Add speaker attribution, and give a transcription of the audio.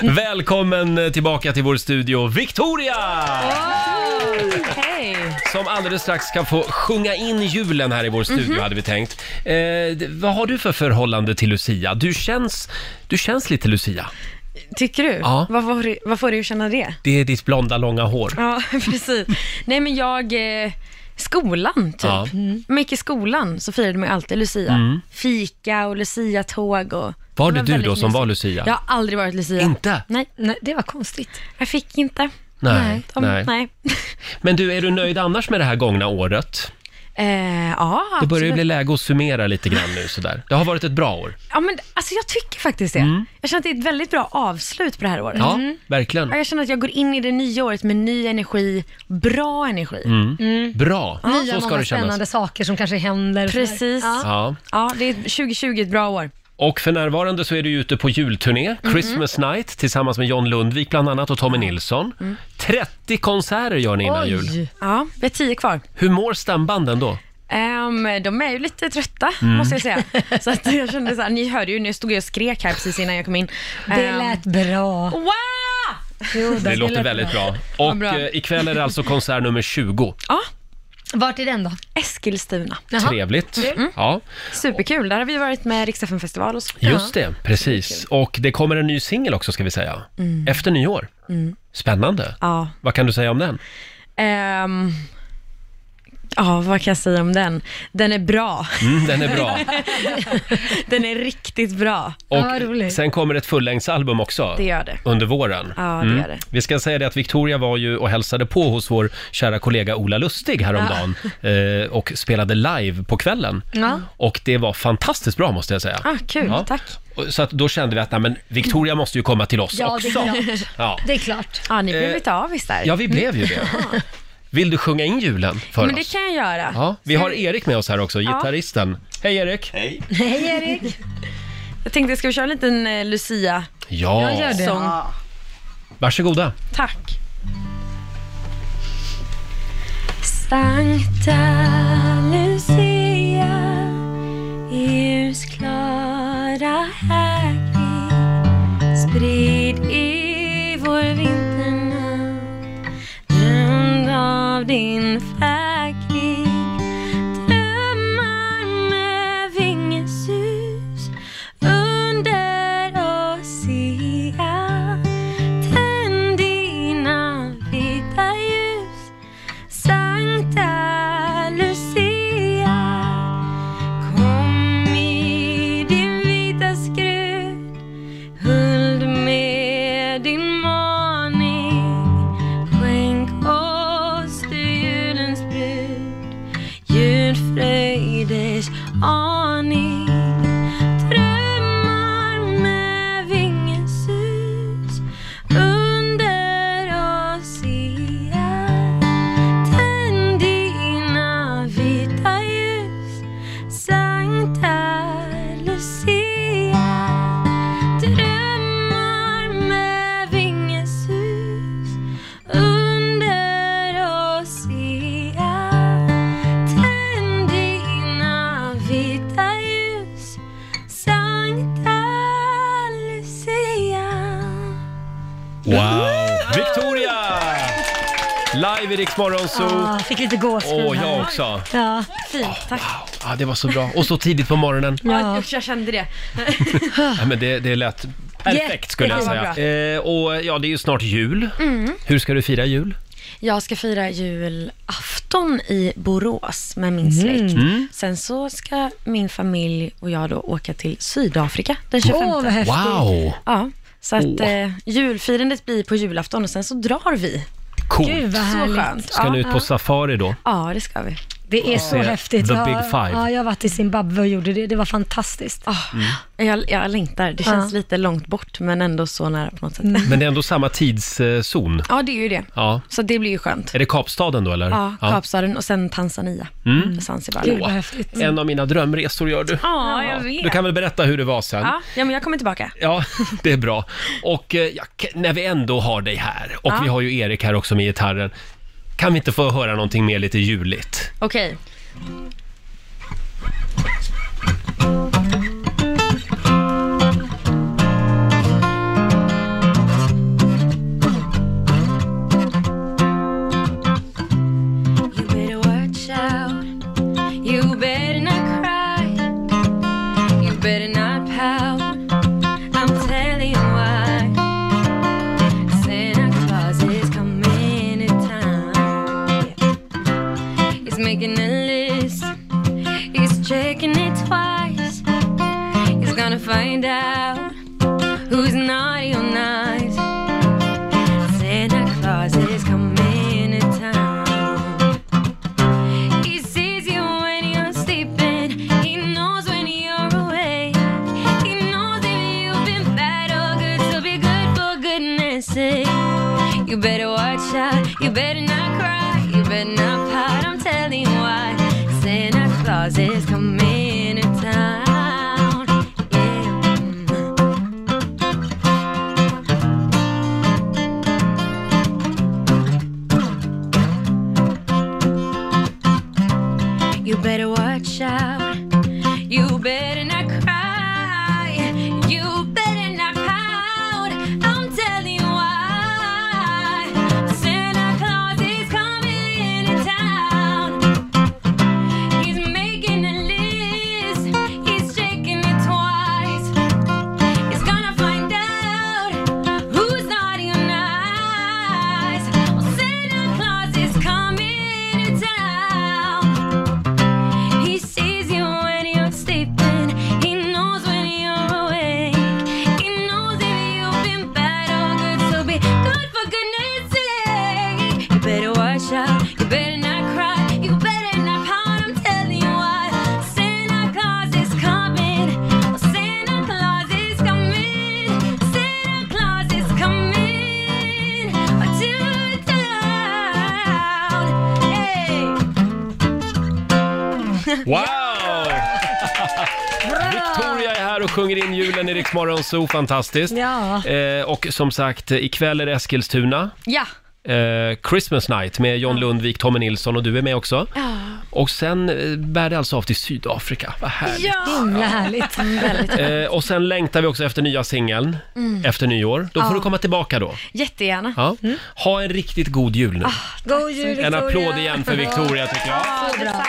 Speaker 1: Mm. Välkommen eh, tillbaka till vår studio, Victoria!
Speaker 2: Hej!
Speaker 1: Som alldeles strax ska få sjunga in julen här i vår studio, hade vi tänkt. Eh, d- vad har du för förhållande till Lucia? Du känns, du känns lite Lucia.
Speaker 2: Tycker du?
Speaker 1: Ja.
Speaker 2: Vad, får, du- vad får du känna det?
Speaker 1: Det är ditt blonda, långa hår.
Speaker 2: Ja, precis. Nej, men jag... Eh, skolan, typ.
Speaker 1: Ja. Mm.
Speaker 2: Mycket i skolan så firade man ju alltid Lucia. Fika och Lucia-tåg och...
Speaker 1: Var det
Speaker 2: var
Speaker 1: du
Speaker 2: väldigt
Speaker 1: då som
Speaker 2: mysigt.
Speaker 1: var Lucia?
Speaker 2: Jag har aldrig varit Lucia.
Speaker 1: Inte?
Speaker 2: Nej,
Speaker 3: Nej, det var konstigt.
Speaker 2: jag fick inte.
Speaker 1: Nej,
Speaker 2: de,
Speaker 1: nej.
Speaker 2: nej.
Speaker 1: Men du, är du nöjd annars med det här gångna året?
Speaker 2: Eh, ja,
Speaker 1: Det börjar ju
Speaker 2: absolut.
Speaker 1: bli läge att summera lite grann nu sådär. Det har varit ett bra år.
Speaker 2: Ja, men alltså jag tycker faktiskt det. Jag känner att det är ett väldigt bra avslut på det här året.
Speaker 1: Mm.
Speaker 2: Mm.
Speaker 1: Ja, verkligen.
Speaker 2: Ja, Jag känner att jag går in i det nya året med ny energi, bra energi.
Speaker 1: Mm. Bra.
Speaker 3: Nya
Speaker 1: Så ska
Speaker 3: många
Speaker 1: det kännas.
Speaker 3: spännande saker som kanske händer. och sådär.
Speaker 2: Precis.
Speaker 3: Ja.
Speaker 1: Ja.
Speaker 2: Ja, det är 2020 ett bra år.
Speaker 1: Och för närvarande så är du ju ute på julturné, Christmas Night, tillsammans med John Lundvik bland annat och Tommy Nilsson. 30 konserter gör ni innan jul.
Speaker 3: Oj!
Speaker 2: Ja, vi har tio kvar.
Speaker 1: Hur mår stambanden då?
Speaker 2: Ehm, de är ju lite trötta,
Speaker 1: Mm.
Speaker 2: måste jag säga. Så att jag kände så här, ni hörde ju, nu stod jag och skrek här precis innan jag kom in.
Speaker 3: Det
Speaker 2: Ehm,
Speaker 3: lät bra.
Speaker 2: Wow!
Speaker 3: Jo,
Speaker 1: Det, låter väldigt bra. Och
Speaker 2: bra.
Speaker 1: eh, ikväll är det alltså konsert nummer 20.
Speaker 2: Ja,
Speaker 3: Vart är den då?
Speaker 2: Eskilstuna.
Speaker 3: Jaha.
Speaker 1: Trevligt. Ja,
Speaker 2: Superkul, där har vi varit med Riksdagen festival och så.
Speaker 1: just det. Precis. Och det kommer en ny singel också ska vi säga. Efter nyår. Spännande.
Speaker 2: Ja.
Speaker 1: Vad kan du säga om den?
Speaker 2: Ehm, ja, vad kan jag säga om den? Den är bra.
Speaker 1: Mm, den är bra.
Speaker 2: Den är riktigt bra.
Speaker 3: Ja, vad
Speaker 1: Och
Speaker 3: roligt.
Speaker 1: sen kommer ett fullängdsalbum också.
Speaker 2: Det gör det.
Speaker 1: Under våren.
Speaker 2: Ja, det gör det.
Speaker 1: Vi ska säga det att Victoria var ju och hälsade på hos vår kära kollega Ola Lustig häromdagen eh, och spelade live på kvällen.
Speaker 3: Ja.
Speaker 1: Och det var fantastiskt bra måste jag säga.
Speaker 2: Ah, kul,
Speaker 1: Ja.
Speaker 2: tack.
Speaker 1: Och- Så att då kände vi att nej, men Victoria måste ju komma till oss
Speaker 3: Ja, det är
Speaker 1: också.
Speaker 3: klart.
Speaker 1: Ja.
Speaker 3: Det är klart.
Speaker 2: Ja, ni blev
Speaker 1: Eh,
Speaker 2: lite avis där.
Speaker 1: ja, vi blev ju det. Vill du sjunga in julen för
Speaker 2: Men det
Speaker 1: oss?
Speaker 2: kan jag göra.
Speaker 1: Ja, vi har Erik med oss här också, gitarristen. Hej Erik!
Speaker 3: Hej Erik!
Speaker 2: Jag tänkte, ska vi köra en liten eh, Lucia-sång?
Speaker 1: Ja,
Speaker 3: Jag gör det.
Speaker 1: varsågoda.
Speaker 2: Tack. Sankta Lucia i ljusklara härkring sprid i vår vinternatt rund av din fägring drömmar med vingesus under Lucia Tänd dina vita ljus Sankta Lucia Kom i din vita skrud Huld med din maning Skänk oss du julens brud Julfröjders aning Drömmar med vingesus under oss igen Tänd dina vita ljus Sankta Lucia Drömmar med vingesus under oss igen Tänd dina vita ljus Sankta Lucia
Speaker 1: Wow! Victoria! Live i Rix Morgon Zoo.
Speaker 3: Ah, fick lite gåshud
Speaker 1: Åh,
Speaker 3: här.
Speaker 1: jag också.
Speaker 3: Ja.
Speaker 2: Fint, tack.
Speaker 1: Ja, det var så bra. Och så tidigt på morgonen.
Speaker 2: Ja, usch, jag kände det.
Speaker 1: Ja, men det, det lät perfekt skulle jag
Speaker 2: Ah. Jättebra. Mm.
Speaker 1: säga. Eh, och ja, det är ju snart jul. Hur ska du fira jul?
Speaker 2: Jag ska fira julafton i Borås med
Speaker 3: Mm.
Speaker 2: min släkt.
Speaker 1: Mm.
Speaker 2: Sen så ska min familj och jag då åka till Sydafrika den 25.
Speaker 3: Åh, vad häftigt.
Speaker 1: Wow!
Speaker 2: Ja, så att
Speaker 1: Åh.
Speaker 2: eh, julfirandet blir på julafton och sen så drar vi.
Speaker 3: Gud,
Speaker 1: Coolt!
Speaker 3: vad
Speaker 2: Så
Speaker 3: härligt.
Speaker 2: skönt.
Speaker 1: Ska
Speaker 2: ja.
Speaker 1: ni ut på safari då?
Speaker 2: ja, det ska vi.
Speaker 3: Det är så
Speaker 1: Se
Speaker 3: häftigt.
Speaker 1: the
Speaker 3: Ja,
Speaker 1: big five.
Speaker 3: Ja, jag har varit i Zimbabwe och gjorde det. Det var fantastiskt.
Speaker 2: Ah, jag, jag längtar. Det känns lite långt bort men ändå så nära på något sätt.
Speaker 3: Mm.
Speaker 1: Men det är ändå samma tidszon.
Speaker 2: Ja, det är ju det.
Speaker 1: Ja.
Speaker 2: Så det blir ju skönt.
Speaker 1: Är det Kapstaden då eller?
Speaker 2: Ja, Kapstaden och sen Tanzania. Mm. Zanzibar.
Speaker 3: Gud,
Speaker 2: Ja,
Speaker 3: vad häftigt.
Speaker 2: mm.
Speaker 1: En av mina drömresor gör du.
Speaker 2: jag vet.
Speaker 1: Du kan väl berätta hur det var sen?
Speaker 2: ja, ja, men jag kommer tillbaka.
Speaker 1: Ja, det är bra. Och eh, ja, k- när vi ändå har dig här, och vi har ju Erik här också med gitarren, kan vi inte få höra någonting mer lite juligt?
Speaker 2: Okej. find out who's naughty or nice. Santa Claus is coming to town. He sees you when you're sleeping. He knows when you're awake. He knows if you've been bad or good. So be good for goodness sake. You better watch out. You better not cry. You better not pout. I'm telling you why. Santa Claus is coming to town. Yeah. mm. You better watch out. You better not cry. You better not pout. I'm telling you why. Santa Claus is coming to town. He's making a list. He's checking it twice. He's gonna find out who's naughty or nice. Santa Claus is coming to town. He sees you when you're sleeping. He knows when you're awake. He knows if you've been bad or good. So be good for goodness sake. You better watch out. You better not cry. You better not pout. I'm telling you why. Santa Claus is coming. Santa Claus is coming. Santa Claus is coming to town. Hey.
Speaker 1: Wow! Victoria är här och sjunger in julen i Rix Morgon Zoo, fantastiskt.
Speaker 3: Ja.
Speaker 1: Eh, och som sagt, ikväll är det Eskilstuna.
Speaker 2: Ja.
Speaker 1: Eh, Christmas Night med John Lundvik, Tommy Nilsson och du är med också. Och sen eh, bär det alltså av till Sydafrika. Vad härligt.
Speaker 3: Himla härligt.
Speaker 2: Mm.
Speaker 1: Eh, och sen längtar vi också efter nya singeln
Speaker 3: Mm.
Speaker 1: efter nyår. Då får du komma tillbaka då.
Speaker 2: Jättegärna.
Speaker 1: Ja. Ha en riktigt god jul nu.
Speaker 3: God jul Mm. Ah, Victoria.
Speaker 1: en applåd igen för Victoria tycker jag.
Speaker 3: Ja, det är sant.